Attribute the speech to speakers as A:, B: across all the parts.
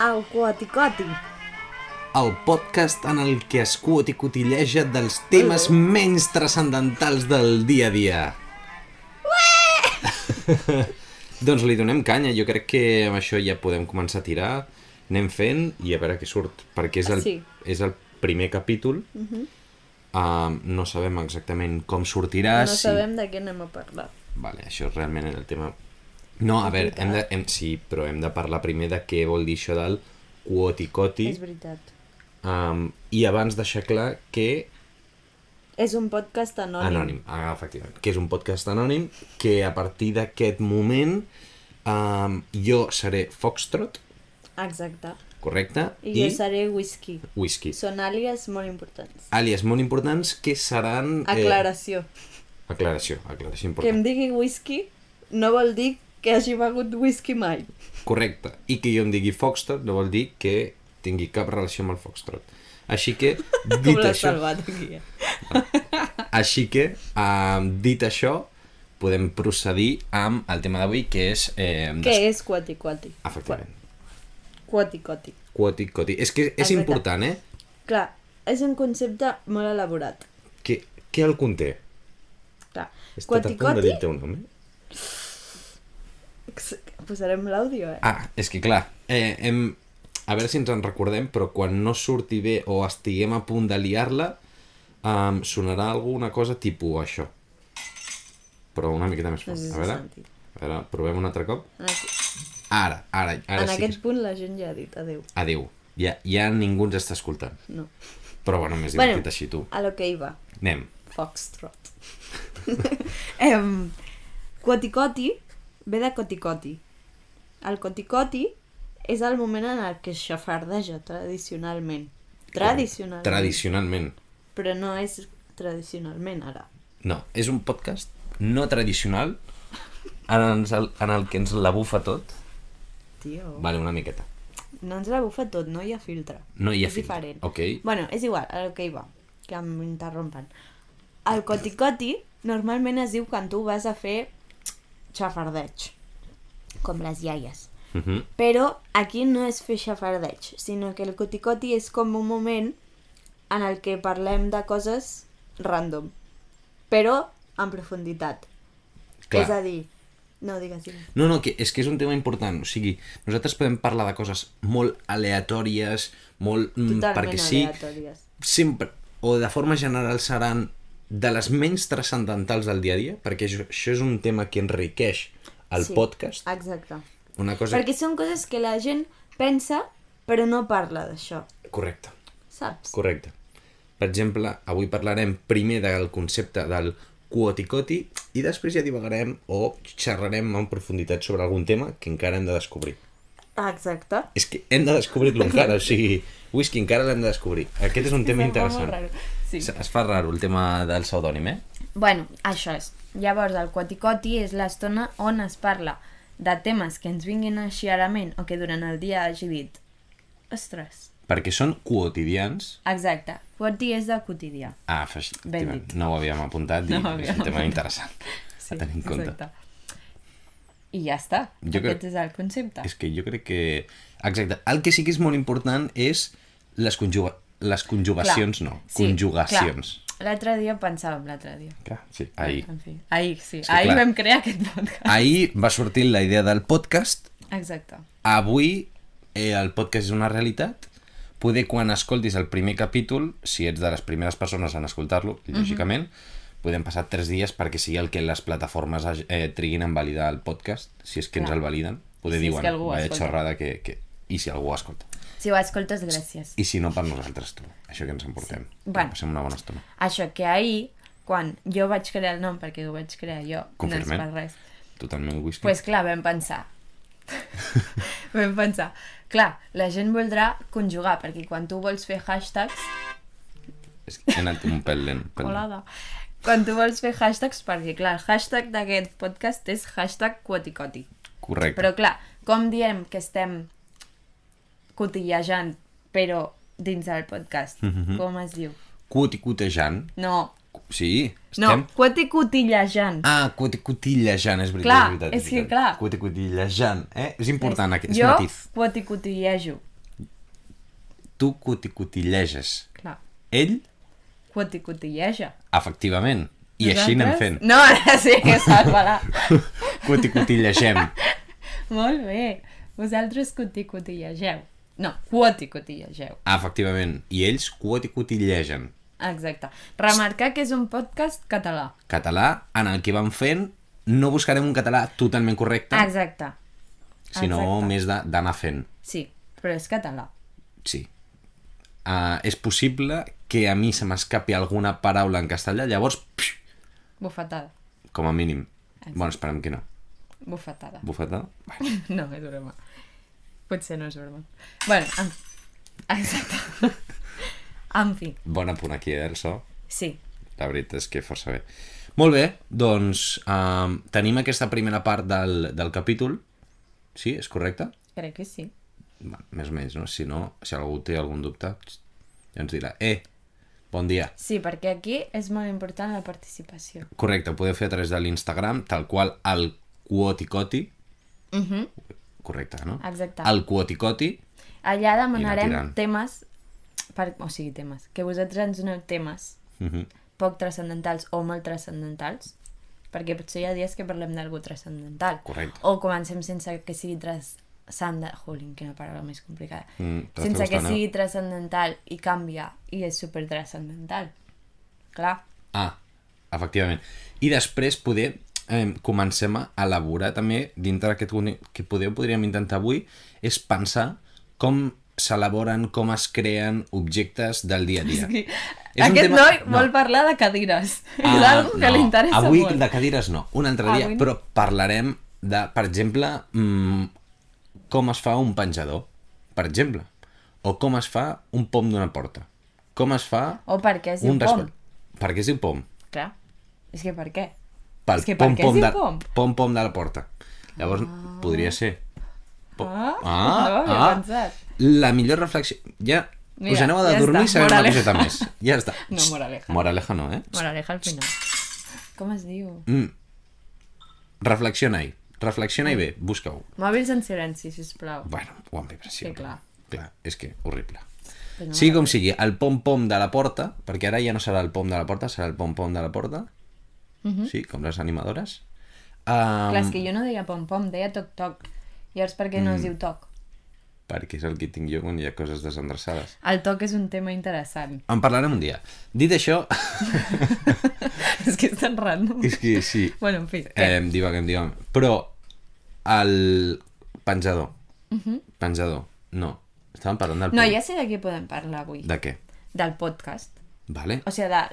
A: El Coaticoti.
B: el podcast en el que es cuot i cotilleja dels temes menys transcendentals del dia a dia. doncs li donem canya, jo crec que amb això ja podem començar a tirar, anem fent i a veure què surt, perquè és el,
A: Sí. Mhm.
B: és el primer capítol, uh no sabem exactament com sortirà,
A: No
B: si-
A: sabem de què anem a parlar.
B: Vale, això realment era el tema... No, a veure, hem de, hem, sí, però hem de parlar primer de què vol dir això del cuoticoti.
A: És veritat.
B: Um, I abans deixar clar que...
A: És un podcast anònim.
B: Anònim, ah, efectivament. Que és un podcast anònim que a partir d'aquest moment um, jo seré Foxtrot,
A: Exacte.
B: correcte?
A: I, jo seré whisky.
B: Whisky.
A: Són àlies molt importants.
B: Àlies molt importants que seran...
A: Aclaració.
B: Eh, aclaració, aclaració
A: Que em
B: important.
A: digui whisky no vol dir que hagi begut whisky mai.
B: Correcte. I que jo em digui Foxtrot no vol dir que tingui cap relació amb el Foxtrot. Així que, dit
A: Com l'has
B: això...
A: salvat aquí. eh?
B: Així que, eh, dit això, podem procedir amb el tema d'avui, que és... Eh,
A: Què és Coaticoati?
B: Efectivament.
A: Coaticoti.
B: Quoti, quoti. És que és
A: Exacte.
B: important, eh?
A: Clar, és un concepte molt elaborat.
B: Que, què el conté?
A: Clar,
B: He estat a punt de
A: Coaticoti...
B: dir-te un nom, eh?
A: Posarem l'àudio, eh?
B: Ah, és que clar, eh, hem... a veure si ens en recordem, però quan no surti bé o estiguem a punt de liar-la, eh, sonarà alguna cosa tipus això. Però una miqueta més
A: No
B: fort.
A: sé si
B: A
A: s'ha
B: veure,
A: sentit.
B: a veure, provem un altre cop.
A: En, aqu-
B: Ara, ara, ara
A: en
B: sí
A: aquest
B: que...
A: punt la gent ja ha dit adeu.
B: Adéu. Ja, ja ningú ens està escoltant.
A: No.
B: Però bueno, més
A: Bueno.
B: divertit bueno. així, tu.
A: A lo que iba.
B: Anem.
A: Foxtrot. em, coticoti ve de coticoti. El coticoti és el moment en el que es xafardeja tradicionalment. Tradicionalment.
B: Tradicionalment.
A: Però no és tradicionalment ara.
B: No, és un podcast no tradicional en, ens, en el que ens la bufa tot.
A: Tio.
B: Vale, una miqueta.
A: No ens la bufa tot, no hi ha filtre.
B: No hi ha
A: és
B: filtre.
A: diferent.
B: Ok.
A: Bueno, és igual, a lo que hi va, que m'interrompen. El coticoti normalment es diu quan tu vas a fer xafardeig, com les iaies.
B: Uh -huh.
A: Però aquí no és fer xafardeig, sinó que el coticoti és com un moment en el que parlem de coses random, però en profunditat.
B: Clar.
A: És a dir, no digues, digues.
B: No, no, que és que és un tema important. O sigui, nosaltres podem parlar de coses molt aleatòries, molt... mm,
A: totalment
B: perquè sí,
A: aleatòries.
B: sempre, o de forma general seran de les menys transcendentals del dia a dia, perquè això, això és un tema que enriqueix el
A: Sí,
B: sí. podcast.
A: Exacte.
B: Una cosa...
A: Perquè són coses que la gent pensa però no parla d'això,
B: Correcte.
A: saps?
B: Correcte. Per exemple, avui parlarem primer del concepte del cuoticoti i després ja divagarem o xerrarem en profunditat sobre algun tema que encara hem de descobrir.
A: Ah, Exacte.
B: És que hem de descobrir-lo encara, o sigui, whisky encara l'hem de descobrir. Aquest és un tema interessant.
A: Sí.
B: Es es fa raro el tema del pseudònim, eh?
A: Bueno, això és. Llavors, el quaticoti és l'estona on es parla de temes que ens vinguin així a la ment o que durant el dia hagi dit. Ostres.
B: Perquè són quotidians.
A: Exacte. Quoti és de quotidià.
B: Ah, fes...
A: Ben dit.
B: no ho havíem apuntat i
A: No ho
B: no és
A: havíem
B: un tema
A: apuntat.
B: interessant sí, a tenir en compte.
A: I ja està.
B: Jo crec-
A: Aquest és el concepte.
B: És que jo crec que... Exacte. El que sí que és molt important és les, conjuga... les conjugacions,
A: Clar.
B: no. conjugacions.
A: clar. L'altre dia pensàvem, l'altre dia.
B: Clar. Sí, ahir.
A: En fi. Ahir, sí.
B: que
A: Ahir
B: clar.
A: vam crear aquest podcast.
B: Ahir va sortir la idea del podcast.
A: Exacte.
B: Avui eh, el podcast és una realitat. Poder quan escoltis el primer capítol, si ets de les primeres persones en escoltar-lo,
A: Mhm.
B: lògicament, podem passar tres dies perquè sigui el que les plataformes hagi- eh, triguin en validar el podcast, si és que ens
A: Clar.
B: el validen. Poder
A: Si és
B: diuen,
A: que algú
B: vaya
A: escolta."
B: xerrada que, que... I si algú ho escolta.
A: Si ho escoltes, gràcies.
B: I si no, per nosaltres, tu. Això que ens emportem. Sí.
A: Bueno.
B: Passem una bona estona.
A: Això que ahir, quan jo vaig crear el nom, perquè ho vaig crear jo,
B: Confirmem.
A: no és per res,
B: Totalment whisky.
A: pues clar, vam pensar. vam pensar. Clar, la gent voldrà conjugar, perquè quan tu vols fer hashtags...
B: És que he anat un pèl lent. Pèl lent.
A: Colada. Quan tu vols fer hashtags, perquè clar, el hashtag d'aquest podcast és hashtag quoticoti.
B: Correcte.
A: Però clar, com diem que estem cotillejant, però dins del podcast?
B: Mhm.
A: Com es diu?
B: Cuticutejant.
A: No,
B: Sí, estem...
A: no, quoticotillejant.
B: Ah, cuticutillejant, és veritat,
A: Clar,
B: és veritat.
A: és que
B: veritat.
A: clar.
B: Cuticutillejant, eh? És important, aquest, és
A: jo
B: matís.
A: quoticotillejo.
B: tu cuticutileges.
A: Clar.
B: Ell,
A: Quanticotilleja.
B: efectivament. I així anem fent.
A: No, ara sí que salva-la.
B: Cuticutilegem.
A: Molt bé. Vosaltres quanticotillegeu. No, quanticotillegeu.
B: Efectivament. I ells cuoticotillegen.
A: Exacte. Remarcar que és un podcast català.
B: Català, en el que van fent, no buscarem un català totalment correcte,
A: Exacte.
B: sinó
A: Ah, exacte.
B: més de- d'anar fent.
A: Sí, però és català.
B: Sí. Uh, és possible que a mi se m'escapi alguna paraula en castellà, llavors, pxiu,
A: Bufetada.
B: com a mínim. Bueno, esperem que no.
A: Bufetada.
B: Bufeta?
A: No, és broma. Potser no és broma. Bueno, en... exacte. en fi,
B: Bona punt aquí, eh, el so.
A: sí.
B: La veritat és que força bé. Molt bé, doncs um, tenim aquesta primera part del, del capítol. Sí, és correcte?
A: Crec que sí.
B: Bé, més o menys, no? Si no, si algú té algun dubte, ja ens dirà, eh, bon dia.
A: Sí, perquè aquí és molt important la participació.
B: Correcte, ho podeu fer a través de l'Instagram, tal qual el Quoticoti.
A: Uh -huh.
B: Correcte, no?
A: Exacte.
B: El Quoticoti.
A: Allà
B: I anar
A: demanarem
B: tirant.
A: temes, per... o sigui, temes, que vosaltres ens doneu temes
B: Uh -huh.
A: poc transcendentals o molt transcendentals, perquè potser hi ha dies que parlem d'algú transcendental.
B: Correcte.
A: O comencem sense que sigui transcendental... Jolín, quina paraula més complicada.
B: Mm, t'està
A: sense que
B: costant, eh?
A: sigui transcendental i canvia i és super transcendental. Clar,
B: Ah, efectivament. I després poder eh, comencem a elaborar també, dintre d'aquest coni- que podeu, podríem intentar avui, és pensar com s'elaboren, com es creen objectes del dia a dia.
A: que
B: És un
A: aquest
B: tema-
A: noi
B: no.
A: vol parlar de cadires. Ah, és algo que li interessa
B: avui
A: molt.
B: de cadires no, un altre dia,
A: Avui no.
B: però parlarem de, per exemple, mm, com es fa un penjador, per exemple, o com es fa un pom d'una porta, com es fa
A: O perquè és un
B: un
A: pom.
B: respon- Per què es diu pom?
A: Clar, és que per què?
B: Pel
A: És que per
B: pom,
A: què
B: pom,
A: es diu
B: de,
A: pom?
B: pom pom de la porta. Llavors, podria ser. Po-
A: Ah, no ho havia pensat.
B: la millor reflexió... Ja,
A: Mira,
B: us aneu a
A: ja
B: dormir
A: està,
B: i sabeu una
A: moraleja.
B: coseta més. Ja està.
A: No, moraleja.
B: Moraleja no, eh?
A: Moraleja al final. Com es diu?
B: Mm. Reflexiona-hi. Reflexiona-hi bé, busca-ho.
A: Mòbils en silenci, sisplau.
B: Bueno, ho han vist, sí.
A: Sí, clar.
B: Clar, és que horrible.
A: Però no
B: sigui com sigui, el pom-pom de la porta, perquè ara ja no serà el pom de la porta, serà el pom-pom de la porta,
A: Mhm.
B: sí, com les animadores. Um, mm.
A: Clar, és que jo no deia pom-pom, deia toc-toc. Llavors, per què no es diu toc?
B: Perquè és el que tinc jo quan hi ha coses desendreçades.
A: El toc és un tema interessant.
B: En parlarem un dia. Dit això,
A: és que és tan random.
B: és que sí,
A: Bueno, en fi. què?
B: eh, divaguem, divaguem. Però el penjador, penjador, no, estàvem parlant del
A: Mhm. No,
B: pom.
A: ja sé de què podem parlar avui.
B: De què?
A: Del podcast.
B: Vale.
A: O sigui, del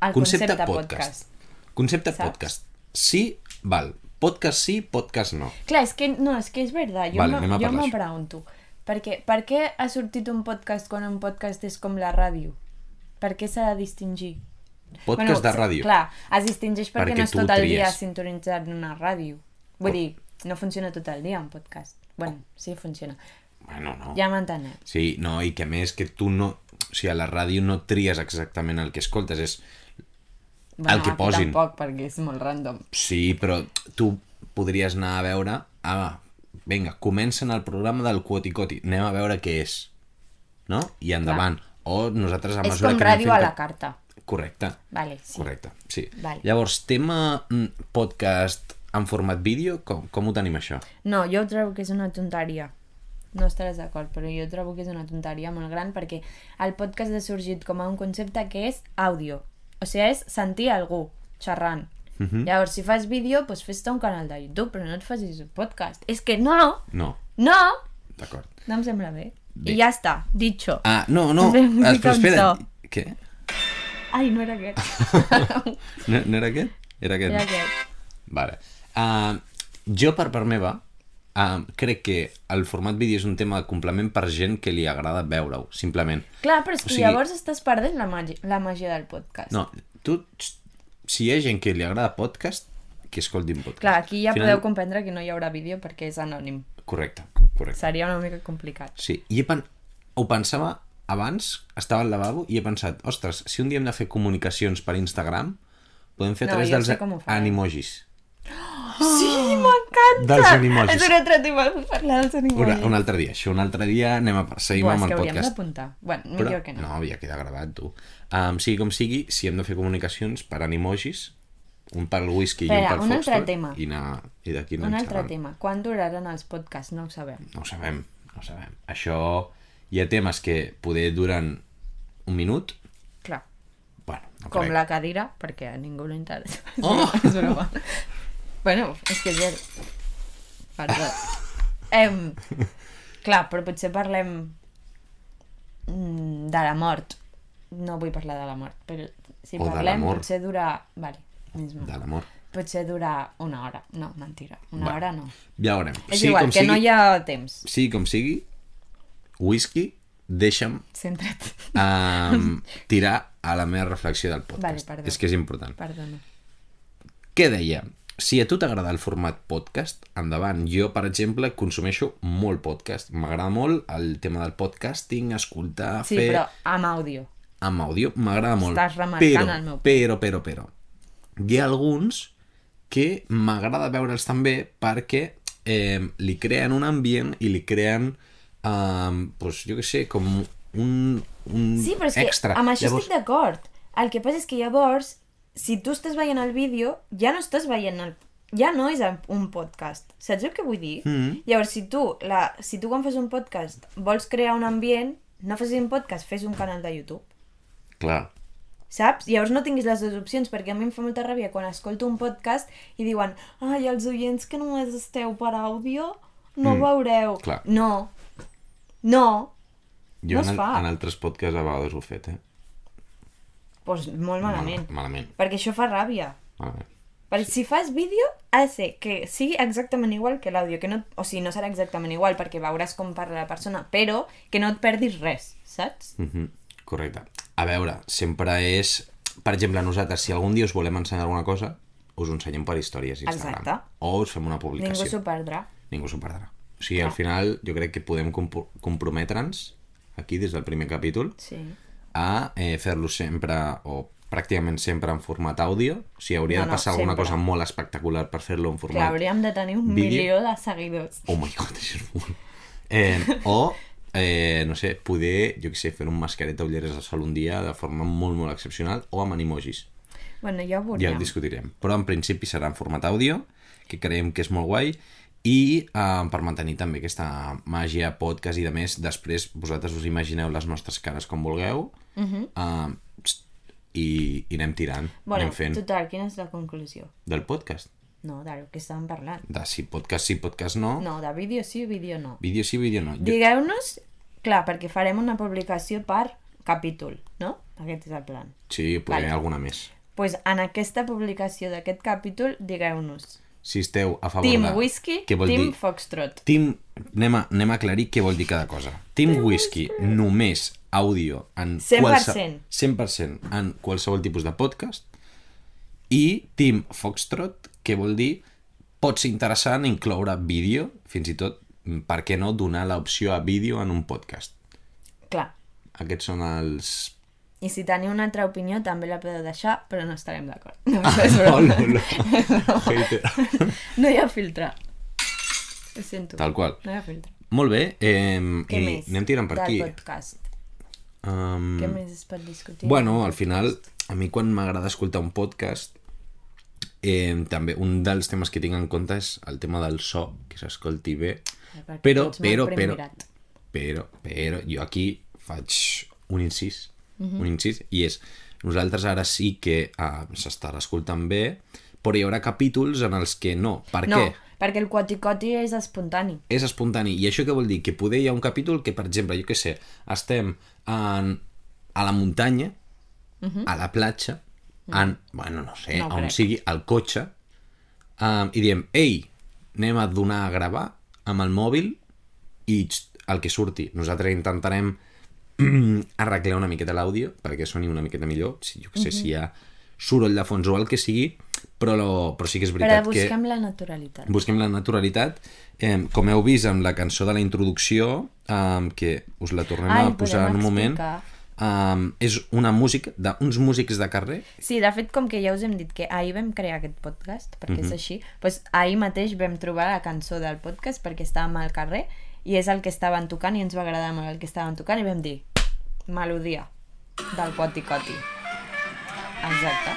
A: el
B: Concepte,
A: concepte,
B: podcast. Concepte
A: Saps?
B: podcast. Sí, val. Podcast sí, podcast no.
A: Clar, és que no, és que és verdad. Jo me-
B: Vale, anem a
A: jo
B: parlar
A: m'ho
B: això.
A: pregunto. Perquè, per què ha sortit un podcast quan un podcast és com la ràdio? Per què s'ha de distingir?
B: Podcast de ràdio.
A: Clar, es distingeix perquè,
B: Perquè
A: no és
B: tu
A: tot el
B: tries.
A: dia sintonitzat en una ràdio. Vull dir, no funciona tot el dia un podcast. Bueno, sí, funciona.
B: Bueno, no.
A: Ja m'entenem.
B: Sí, no, i que a més que tu no... O sigui, a la ràdio no tries exactament el que escoltes, és...
A: Bueno,
B: que
A: aquí
B: posin.
A: Tampoc, perquè és molt random.
B: Sí, però tu podries anar a veure... Ah, vinga, comencen el programa del Quoticoti, anem a veure què és. No? I endavant. O nosaltres, a
A: és
B: mesura
A: com
B: que...
A: ràdio a la
B: carta.
A: carta.
B: Correcte.
A: Vale, sí.
B: Correcte, sí.
A: Vale.
B: Llavors, tema mm, podcast en format vídeo, com, com ho tenim això?
A: No, jo trobo que és una tonteria. No estaràs d'acord, però jo trobo que és una tonteria molt gran perquè el podcast ha sorgit com a un concepte que és àudio. O sigui, és sentir algú xerrant.
B: Mhm.
A: Llavors, si fas vídeo, doncs fes-te un canal de YouTube, però no et facis un podcast. És que no,
B: No,
A: no,
B: d'acord.
A: no em sembla bé.
B: Bé.
A: I ja està, dicho.
B: Ah, no, no,
A: Bé,
B: es- però
A: com
B: espera.
A: so.
B: Què?
A: Ai, no era aquest.
B: No, no era aquest? Era aquest.
A: era
B: no?
A: aquest.
B: Vale. Uh, jo, per part meva, uh, crec que el format vídeo és un tema de complement per gent que li agrada veure-ho, simplement.
A: Clar, però és
B: O
A: que
B: sigui-
A: llavors estàs perdent la màgia, la màgia del podcast.
B: No, tu, txt, si hi ha gent que li agrada podcast, que escolti un podcast.
A: Clar, aquí ja
B: Al final-
A: podeu comprendre que no hi haurà vídeo perquè és anònim.
B: Correcte, correcte.
A: Seria una mica complicat.
B: Sí, i he pen... ho pensava abans, estava al lavabo i he pensat, ostres, si un dia hem de fer comunicacions per Instagram, podem fer a
A: No,
B: través
A: jo
B: dels
A: sé com ho farem.
B: animojis.
A: Sí, m'encanta!
B: Dels animals.
A: És un altre tema, vull parlar dels
B: Una,
A: animals.
B: un altre dia, això, un altre dia anem a per- seguim
A: Buah, és
B: amb
A: que
B: el
A: hauríem
B: podcast.
A: d'apuntar. Bueno, millor que no.
B: no, ja queda gravat, tu. Um, sigui com sigui, si hem de fer comunicacions per animojis, un per al whisky i un
A: Espera,
B: per al
A: un altre
B: Foxtrot,
A: tema.
B: i, anar, i d'aquí
A: Un
B: anem
A: altre
B: xerrant.
A: tema. Quan duraran els podcasts? No ho sabem.
B: No ho sabem, no ho sabem. Això hi ha temes que poder duren un minut,
A: Clar.
B: bueno, no
A: Com
B: crec.
A: la cadira, perquè a ningú li interessa.
B: Oh!
A: és broma. bueno, és que és ver... Perdó. Em... Clar, però potser parlem mm, de la mort. No vull parlar de la mort, però si
B: O de
A: parlem
B: l'amor.
A: potser dura... Vale, mismo.
B: de l'amor.
A: Potser dura una hora. No, mentira. Una
B: Va.
A: hora no.
B: Ja veurem.
A: És igual,
B: com
A: que no hi ha temps.
B: Sí, com sigui, whisky, deixa'm
A: Centra't.
B: um, tirar a la meva reflexió del podcast.
A: Vale, perdó.
B: és que és important.
A: Perdona.
B: Què deia? Si a tu t'agrada el format podcast, endavant. Jo, per exemple, consumeixo molt podcast. M'agrada molt el tema del podcasting, escoltar,
A: Sí,
B: fer...
A: però amb àudio.
B: Amb àudio m'agrada molt.
A: Estàs remarcant
B: però,
A: el meu punt.
B: Però, però, però... Hi ha alguns que m'agrada veure'ls també perquè eh, li creen un ambient i li creen, eh, pues, jo que sé, com un, un
A: Sí, però és que
B: Mm, extra.
A: amb això estic d'acord. El que passa és que llavors, si tu estàs veient el vídeo, ja no estàs veient el... Ja no és un podcast. Saps el que vull dir?
B: Mhm.
A: Llavors, si tu, la... si tu quan fas un podcast vols crear un ambient, no facis un podcast, fes un canal de YouTube.
B: Clar.
A: Saps? Llavors no tinguis les dues opcions, perquè a mi em fa molta ràbia quan escolto un podcast i diuen ai, els oients que només esteu per àudio no
B: Mm,
A: veureu.
B: clar.
A: No. No.
B: Jo
A: No es
B: en,
A: fa.
B: en altres podcasts a vegades ho he fet, eh?
A: Doncs molt malament.
B: Mal, malament,
A: Perquè això fa ràbia.
B: malament.
A: Perquè si fas vídeo, ha de ser que sigui exactament igual que l'àudio, que no, o sigui, no serà exactament igual perquè veuràs com parla la persona, però que no et perdis res, saps?
B: Mhm, Correcte. A veure, sempre és... Per exemple, nosaltres, si algun dia us volem ensenyar alguna cosa, us ho ensenyem per històries Instagram.
A: Exacte.
B: O us fem una publicació.
A: Ningú s'ho perdrà.
B: Ningú s'ho perdrà. O sigui, al final jo crec que podem compo- comprometre'ns aquí, des del primer capítol,
A: Sí.
B: a eh, fer-lo sempre o pràcticament sempre en format àudio. O sigui, hauria
A: No,
B: de
A: no,
B: passar alguna
A: sempre.
B: cosa molt espectacular per fer-lo en
A: Clar,
B: format...
A: hauríem de tenir un
B: Vídeo.
A: milió de seguidors.
B: Oh my god, això és molt... Eh, o, eh, no sé, poder, jo què sé, fer un mascareta ulleres de sol un dia de forma molt, molt excepcional o amb animojis.
A: Bueno, ja ho
B: Ja
A: veuríem.
B: ho discutirem. Però en principi serà en format àudio, que creiem que és molt guai, i eh, per mantenir també aquesta màgia, podcast i de més, després vosaltres us imagineu les nostres cares com vulgueu uh
A: Mhm.
B: -huh. i, i anem tirant, bueno,
A: bueno,
B: anem fent
A: total, quina és la conclusió?
B: del podcast.
A: No, del que estàvem parlant.
B: De si podcast sí, podcast no, no.
A: No, de vídeo sí, vídeo no.
B: vídeo sí, vídeo no. Jo-
A: Digueu-nos, clar, perquè farem una publicació per capítol, no? Aquest és el plan.
B: Sí, poder
A: Vale.
B: alguna més.
A: pues en aquesta publicació d'aquest capítol, digueu-nos.
B: si esteu a favor
A: Team
B: de...
A: Whisky,
B: què vol
A: Team
B: dir?
A: Foxtrot.
B: Team... Anem a, anem a aclarir què vol dir cada cosa. Team Whisky, només àudio en
A: 100%.
B: 100% en qualsevol tipus de podcast i Team Foxtrot, que vol dir pot ser interessant incloure vídeo, fins i tot, mm, per què no, donar l'opció a vídeo en un podcast.
A: Clar.
B: Aquests són els...
A: I si teniu una altra opinió, també la podeu deixar, però no estarem d'acord. No,
B: Ah,
A: això és
B: no,
A: broma.
B: no, no. Hater.
A: no hi ha filtre. Ho sento.
B: Tal qual.
A: No hi ha filtre.
B: Molt bé, eh,
A: Què
B: i
A: més?
B: anem tirant per
A: del
B: aquí.
A: podcast.
B: Um,
A: Què més es pot discutir?
B: Bueno, al final, a mi quan m'agrada escoltar un podcast, eh, també un dels temes que tinc en compte és el tema del so, que s'escolti bé,
A: Perquè
B: però,
A: ets molt
B: però, però,
A: primirat.
B: però, però, jo aquí faig un incís,
A: Mhm.
B: un incís, i és, nosaltres ara sí que ah, s'estarà escoltant bé, però hi haurà capítols en els que no. Per
A: no,
B: què?
A: perquè el quaticoti és espontani.
B: és espontani. I això què vol dir? Que poder hi ha un capítol que, per exemple, jo què sé, estem en, a la muntanya, uh -huh. a la platja, en, bueno, no sé,
A: Mhm. No
B: no
A: ho
B: on
A: crec.
B: sigui, al cotxe, um, i diem, ei, anem a donar a gravar amb el mòbil i txt, el que surti. Nosaltres intentarem arreglar una miqueta l'àudio perquè soni una miqueta millor, si, jo què sé,
A: Mhm.
B: si hi ha soroll de fons o el que sigui, però, lo, però sí que és
A: Però
B: veritat que...
A: busquem la naturalitat.
B: Busquem la naturalitat. Eh, com heu vist amb la cançó de la introducció, eh, que us la tornem
A: Ai,
B: a posar en
A: podem
B: un moment,
A: explicar.
B: um, és una música d'uns músics de carrer
A: Sí, de fet, com que ja us hem dit que ahir vam crear aquest podcast, perquè
B: Mhm.
A: és així, doncs ahir mateix vam trobar la cançó del podcast perquè estàvem al carrer i és el que estaven tocant i ens va agradar molt el que estaven tocant i vam dir melodia del Poti Coti. Exacte.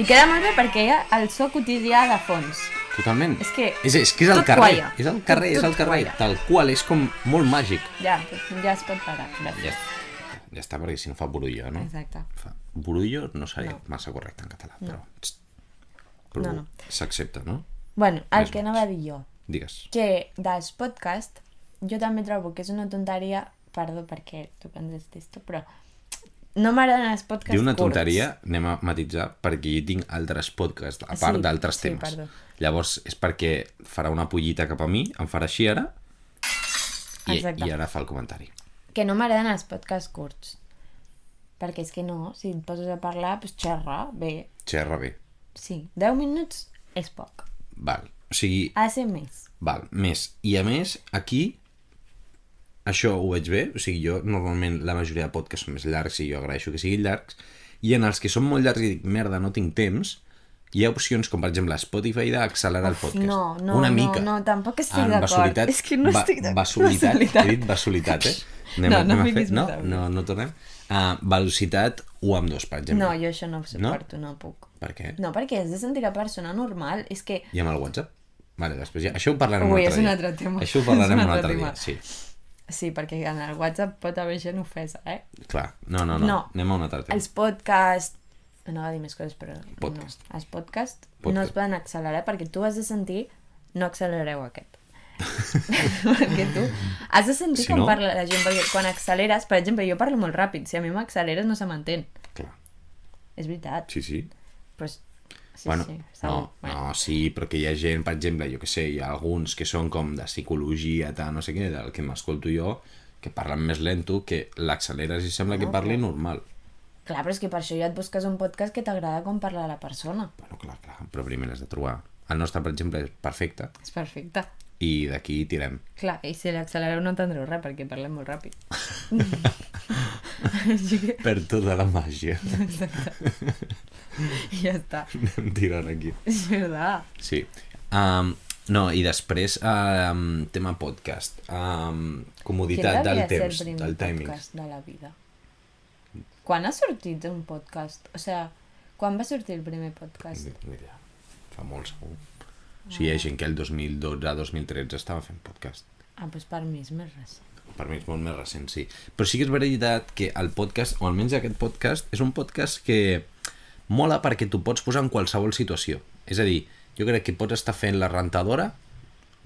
A: I queda molt bé perquè hi ha el so quotidià de fons.
B: Totalment.
A: És que
B: és, és, que és el
A: tot
B: carrer.
A: qualla.
B: És el carrer,
A: Tot-
B: és el
A: tot
B: carrer.
A: qualla.
B: Tal qual, és com molt màgic.
A: Ja, ja es pot parar. Gràcies.
B: Ja, ja està, perquè si no fa borullo, no?
A: Exacte.
B: Fa borullo no seria
A: No.
B: massa correcte en català, però... txt, Però
A: No, no.
B: s'accepta, no?
A: Bueno, el
B: Més
A: que
B: o
A: anava a dir jo,
B: Digues.
A: que dels podcast jo també trobo que és una tonteria, perdó perquè tu penses d'esto, però no m'agraden els podcasts
B: Diu una
A: curts.
B: tonteria, anem a matisar, perquè jo tinc altres podcasts, a
A: Sí,
B: part d'altres
A: sí,
B: temes.
A: perdó.
B: Llavors, és perquè farà una pollita cap a mi, em farà així ara, i,
A: Exacte.
B: i ara fa el comentari.
A: Que no m'agraden els podcasts curts. Perquè és que no, si et poses a parlar, doncs xerra, bé,
B: Xerra bé.
A: sí. 10 minuts és poc.
B: Val. O sigui,
A: Ha de ser més.
B: Val, més. I a més, aquí, això ho veig bé, o sigui, jo normalment la majoria de podcasts són més llargs i jo agraeixo que siguin llargs, i en els que són molt llargs i dic, merda, no tinc temps, hi ha opcions com, per exemple, Spotify d'accelerar el podcast.
A: no, no,
B: Una
A: no,
B: mica.
A: no, tampoc estic
B: En
A: d'acord.
B: Vasolitat-
A: És que no
B: va-
A: estic d'acord.
B: Vasolitat,
A: Vasolitat.
B: he dit vasolitat, eh?
A: No,
B: a-
A: no
B: a
A: fiquis
B: fer- no,
A: metàfora.
B: no, no tornem. Uh, velocitat 1 amb 2, per exemple.
A: No, jo això no ho suporto, no, no puc.
B: Per què?
A: No, perquè has de sentir la persona normal. És que
B: I amb el WhatsApp? Vale, després ja... Això ho parlarem
A: Ui,
B: un
A: és
B: altre
A: un
B: dia.
A: altre tema.
B: Això ho
A: És
B: parlarem
A: un
B: un
A: altre
B: altre dia,
A: tema.
B: sí.
A: Sí, perquè en el WhatsApp pot haver gent ofesa, eh?
B: Clar, no, no, no,
A: No.
B: anem a un altre tema.
A: Els podcasts... Anava a dir més coses, però
B: Podcast.
A: no. Els podcasts
B: Podcast.
A: no es poden accelerar perquè tu has de sentir... No accelereu aquest. perquè tu has de sentir
B: Si
A: com
B: no-
A: parla la gent, perquè quan acceleres, per exemple, jo parlo molt ràpid, si a mi m'acceleres no se m'entén.
B: Clar,
A: És veritat.
B: sí, sí.
A: Però és- sí,
B: bueno,
A: sí, segur.
B: no, no, sí, però que hi ha gent, per exemple, jo que sé, hi ha alguns que són com de psicologia, tal, no sé què, del que m'escolto jo, que parlen més lento, que l'acceleres i sembla
A: Ah,
B: que parli normal.
A: Clar, però és que per això ja et busques un podcast que t'agrada com parla la persona.
B: Bueno, clar, clar, però primer l'has de trobar. El nostre, per exemple, és perfecte,
A: És perfecte.
B: i d'aquí tirem.
A: Clar, i si l'accelereu no entendreu res perquè parlem molt ràpid. Així que
B: Per tota la màgia.
A: ja està.
B: Anem tirant aquí.
A: És veritat.
B: Sí. Um, no, i després, um, tema podcast. Um, comoditat del temps, del timing.
A: podcast de la vida? Quan ha sortit un podcast? O sigui, quan va sortir el primer podcast?
B: Ni idea. Fa molt, segur. O sigui, hi ha gent que el 2012-2013 estava fent podcast.
A: Ah, doncs per mi és més recent.
B: Per mi és molt més recent, sí. Però sí que és veritat que el podcast, o almenys aquest podcast, és un podcast que mola perquè tu pots posar en qualsevol situació. És a dir, jo crec que pots estar fent la rentadora,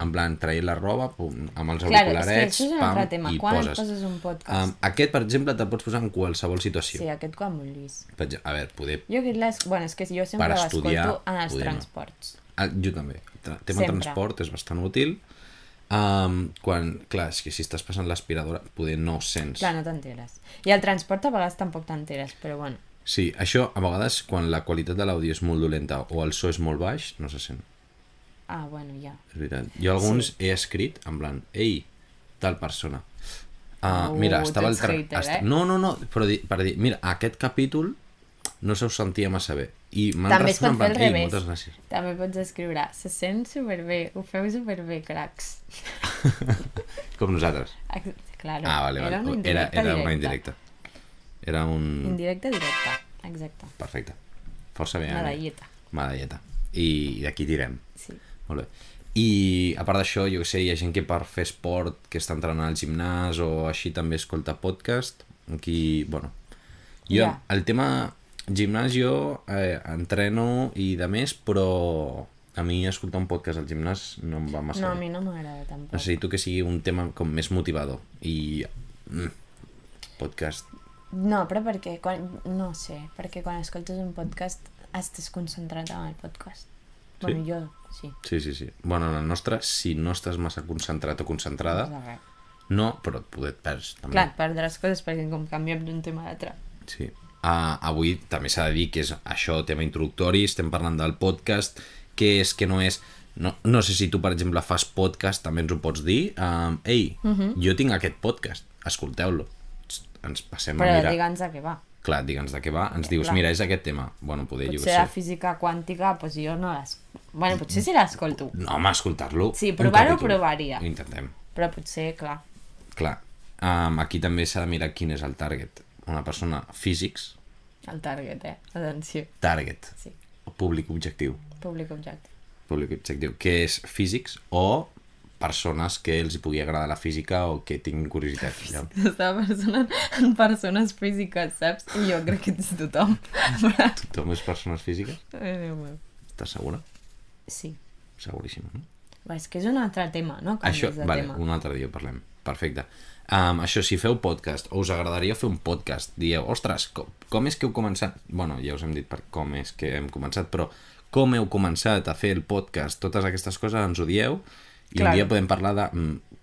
B: en plan, traient la roba, pum, amb els
A: Clar, és que
B: auricularets,
A: això és un
B: pam,
A: altre tema.
B: i
A: Quan
B: poses.
A: poses un podcast?
B: Um, aquest, per exemple, te pots posar en qualsevol situació.
A: Sí, aquest quan vulguis.
B: Per exemple, A veure, poder...
A: Jo que les... Bueno, és que jo sempre
B: Per estudiar,
A: l'escolto en els
B: poder no.
A: transports.
B: Ah, jo també. El tema
A: Sempre.
B: transport és bastant útil. Um, quan, clar, és que si estàs passant l'aspiradora, poder no ho sents.
A: Clar, no t'enteres. I el transport a vegades tampoc t'enteres, però bueno.
B: Sí, això a vegades quan la qualitat de l'àudio és molt dolenta o el so és molt baix, no se sent.
A: Ah, bueno, ja.
B: És veritat. Jo alguns he escrit en plan, ei, tal persona. Ah,
A: Uh,
B: mira,
A: tu
B: estava el
A: ets hater, eh?
B: No, no, no, però di per dir, mira, aquest capítol no se us sentia massa bé. I m'han
A: També es
B: respost
A: pot
B: en
A: fer
B: plan,
A: al
B: ei,
A: revés.
B: moltes gràcies.
A: També pots escriure, se sent superbé, ho feu superbé, cracs.
B: Com nosaltres.
A: Ex- Claro,
B: Ah, vale, vale.
A: era una indirecta
B: era, era una
A: directa.
B: indirecta. Era un...
A: Indirecta directa, exacte.
B: Perfecte. Força bé. Anna.
A: Medalleta,
B: Medalleta. I d'aquí tirem.
A: sí.
B: Molt bé. I a part d'això, jo que sé, hi ha gent que per fer esport, que està entrenant al gimnàs o així també escolta podcast. Aquí, bueno... Jo,
A: Ja.
B: El tema gimnàs jo eh, entreno i de més, però a mi escoltar un podcast al gimnàs no em va massa
A: No, a
B: bé.
A: mi no m'agrada tampoc.
B: Necessito que sigui un tema com més motivador. I mm, podcast
A: No, però perquè, quan, no sé, perquè quan escoltes un podcast estàs concentrat en el podcast. Bueno, jo, sí.
B: Sí, sí, sí. Bueno, en el nostre, si no estàs massa concentrat o
A: De
B: concentrada,
A: res.
B: no, però et poder et perds, també.
A: Clar, et perdràs coses perquè com canviem d'un tema a l'altre.
B: Sí. Uh, avui també s'ha de dir que és això, tema introductori, estem parlant del podcast, què és, què no és... No, no sé si tu, per exemple, fas
A: Mhm.
B: podcast, també ens ho pots dir. Um, Ei, jo tinc aquest podcast, escolteu-lo. Txt, ens passem a
A: Però
B: mirar...
A: digue'ns a què va.
B: Clar, digue'ns de què va, ens dius,
A: clar.
B: mira, és aquest tema. Bueno, poder, jo
A: Potser
B: què
A: la
B: sé.
A: física quàntica, doncs jo no l'es... Bueno, potser sí l'escolto,
B: No, home, escoltar-lo.
A: Sí,
B: un
A: provar-ho,
B: capítol.
A: provaria.
B: Ho intentem.
A: però potser, clar,
B: Clar, um, aquí també s'ha de mirar quin és el target. Una persona físics,
A: el target, eh? Atenció.
B: target,
A: Sí,
B: públic objectiu.
A: públic objecte.
B: públic objectiu, que és físics o persones que els hi pugui agradar la física o que tinguin curiositat. Ja.
A: Estava personant en persones físiques, saps? I jo crec que ets tothom. Però-
B: Tothom és persones físiques?
A: Ai, Déu meu.
B: Estàs segura?
A: Sí.
B: Seguríssima, no?
A: Va, és que és un altre tema, no? Com
B: Això,
A: és de
B: vale,
A: tema.
B: un altre dia ho parlem. Perfecte. Um, això, si feu podcast, o us agradaria fer un podcast, dieu, ostres, com, com és que heu començat? bueno, ja us hem dit per com és que hem començat, però com heu començat a fer el podcast? Totes aquestes coses ens ho dieu i
A: Clar.
B: un dia podem parlar de mm,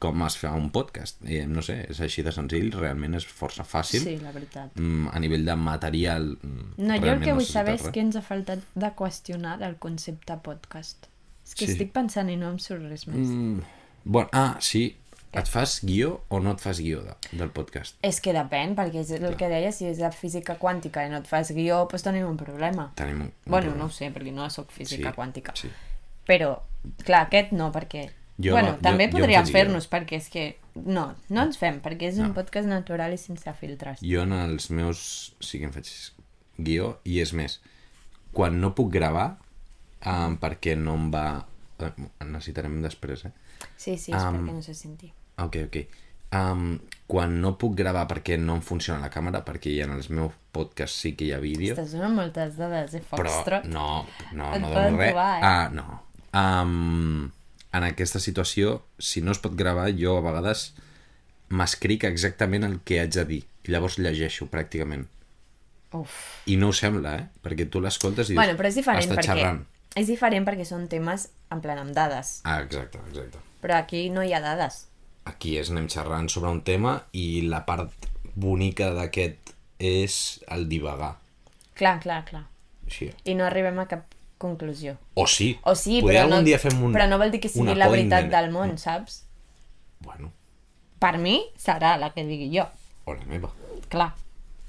B: com es fa un podcast. Eh, no sé, és així de senzill, realment és força fàcil.
A: Sí, la veritat.
B: mm, a nivell de material mm,
A: No, jo el
B: realment
A: que vull
B: necessites
A: saber és
B: res.
A: què ens ha faltat de qüestionar del concepte podcast. És que
B: Sí.
A: estic pensant i no em surt res més.
B: Mm, bon, ah, sí, et fas guió o no et fas guió de, del podcast?
A: És que depèn, perquè és el que deia, si és de física quàntica i no et fas guió, doncs tenim un problema.
B: Tenim un, un
A: Bueno,
B: problema.
A: no ho sé, perquè no sóc física
B: Sí,
A: quàntica.
B: sí.
A: Però, clar, aquest no, perquè...
B: Jo
A: Jo, bueno,
B: no, jo-
A: també
B: jo em
A: podríem
B: faig guió.
A: fer-nos, perquè és que... No, no ens fem, perquè és un podcast natural i sense filtres.
B: Jo en els meus sí que em faig guió i és més, quan no puc gravar um, perquè no em va... eh, Necessitarem després, eh?
A: Sí, sí, és perquè no se senti.
B: Ok, ok. Um, quan no puc gravar perquè no em funciona la càmera, perquè ja en els meus podcasts sí que hi ha vídeo,
A: Estàs donant moltes dades, eh,
B: però
A: Foxtrot?
B: no, no,
A: Et
B: no
A: poden
B: dono res.
A: robar, eh?
B: Ah, no. Um, en aquesta situació, si no es pot gravar, jo a vegades m'escric exactament el que haig de dir. I llavors llegeixo, pràcticament.
A: Uf.
B: I no ho sembla, eh? Perquè tu l'escoltes i dius...
A: Bueno, però és diferent,
B: "Està
A: perquè...
B: xerrant.
A: És diferent perquè són temes, en plan, amb dades.
B: Ah, exacte, exacte.
A: Però aquí no hi ha dades.
B: Aquí és anem xerrant sobre un tema i la part bonica d'aquest és el divagar.
A: Clar, clar, clar.
B: Així.
A: I no arribem a cap conclusió.
B: O sí.
A: O sí,
B: Poder
A: però no,
B: algun dia fem un,
A: però no vol dir que
B: un
A: sigui la veritat
B: appointment.
A: del món, saps?
B: Bueno,
A: Per mi serà la que digui jo,
B: o la meva.
A: clar.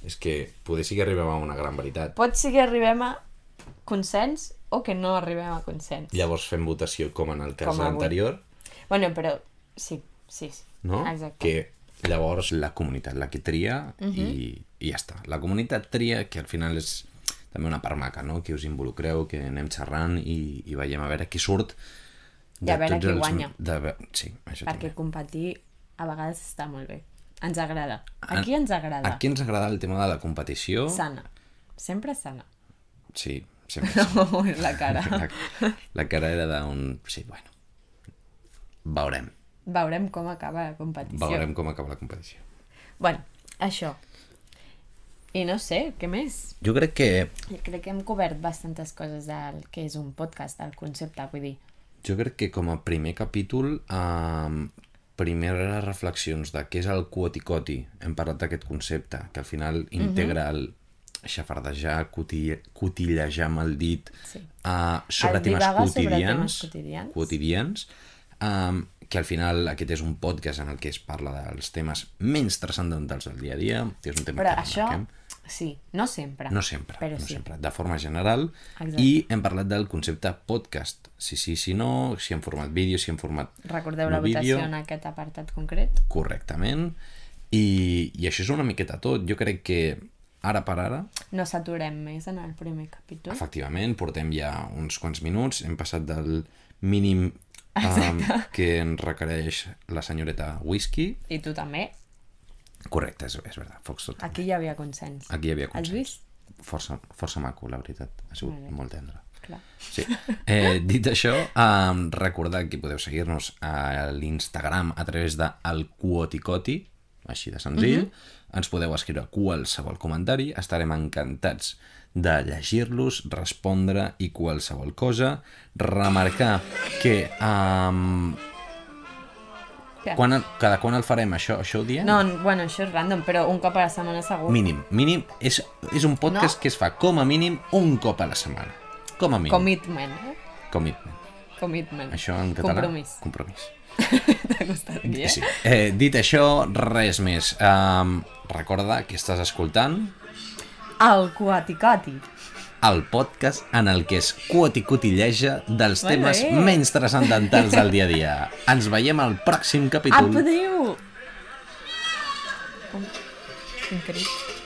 B: És que poder sí que arribem a una gran veritat.
A: Pot ser que arribem a consens o que no arribem a consens.
B: Llavors fem votació com en el cas
A: Com avui.
B: anterior,
A: Bueno, però sí, sí, sí.
B: no?
A: Exacte. Mhm.
B: Que llavors la comunitat la que tria i, i ja està. La comunitat tria, que al final és també una part maca, no? Que us involucreu, que anem xerrant i, i veiem a veure qui surt
A: I a veure qui guanya.
B: De... ve- Sí, això
A: Perquè
B: també.
A: competir a vegades està molt bé. Ens agrada. Aquí ens agrada.
B: Ah, Aquí ens agrada el tema de la competició.
A: Sana. Sempre sana.
B: Sí, sempre.
A: la cara.
B: La, la cara era d'un... Sí, bueno. Veurem.
A: Veurem com acaba la competició.
B: Veurem com acaba la competició.
A: Bueno, això. I no sé, què més?
B: Jo crec que
A: Jo crec que hem cobert bastantes coses del que és un podcast, del concepte, vull dir.
B: Jo crec que com a primer capítol, um, primeres reflexions de què és el cuoticoti. Hem parlat d'aquest concepte, que al final
A: Mhm.
B: integra el xafardejar, cuti, cotillejar amb el dit
A: Sí.
B: uh, sobre,
A: El
B: temes
A: divagar sobre
B: quotidians,
A: temes quotidians.
B: quotidians um, que al final aquest és un podcast en el que es parla dels temes menys transcendentals del dia a dia, que és un tema
A: Però
B: que
A: això,
B: remarquem.
A: sí, no sempre.
B: No sempre,
A: Però
B: no
A: sí.
B: sempre, de forma general.
A: Exacte.
B: I hem parlat del concepte podcast. Si sí, si no, si en format vídeo, si en format
A: Recordeu
B: no
A: la votació
B: vídeo,
A: en aquest apartat concret?
B: correctament. I, I això és una miqueta tot. Jo crec que ara per ara,
A: No s'aturem més en el primer capítol.
B: efectivament, portem ja uns quants minuts, hem passat del mínim um, que en requereix la senyoreta Whisky.
A: I tu també.
B: Correcte, és, és veritat, Foxtrot.
A: Aquí hi havia consens.
B: Aquí hi havia
A: Ah, Has
B: consens.
A: vist?
B: Força, força maco, la veritat. Ha sigut molt tendre.
A: Clar.
B: Sí. Eh, dit això, um, recordar que podeu seguir-nos a l'Instagram a través de elcuoticoti, així de senzill.
A: Mhm.
B: Ens podeu escriure qualsevol comentari, estarem encantats de llegir-los, respondre i qualsevol cosa. Remarcar que um,
A: Què?
B: quan, el- cada quan el farem, això, això ho diem?
A: No, n- bueno, això és random, però un cop a la setmana segur.
B: Mínim, mínim. És, és un podcast
A: No.
B: que es fa com a mínim un cop a la setmana. Com a mínim.
A: Commitment, eh?
B: Commitment.
A: Commitment.
B: Això en català...
A: Compromís.
B: Compromís.
A: T'ha costat aquí, eh?
B: Sí. Eh, dit això, res més. Um, recorda que estàs escoltant
A: El Coaticati.
B: el podcast en el que es quoticotilleja dels
A: Molt
B: temes
A: bé.
B: menys transcendentals del dia a dia. Ens veiem al
A: Ah,
B: pròxim capítol.
A: Apa, adéu! Un crit.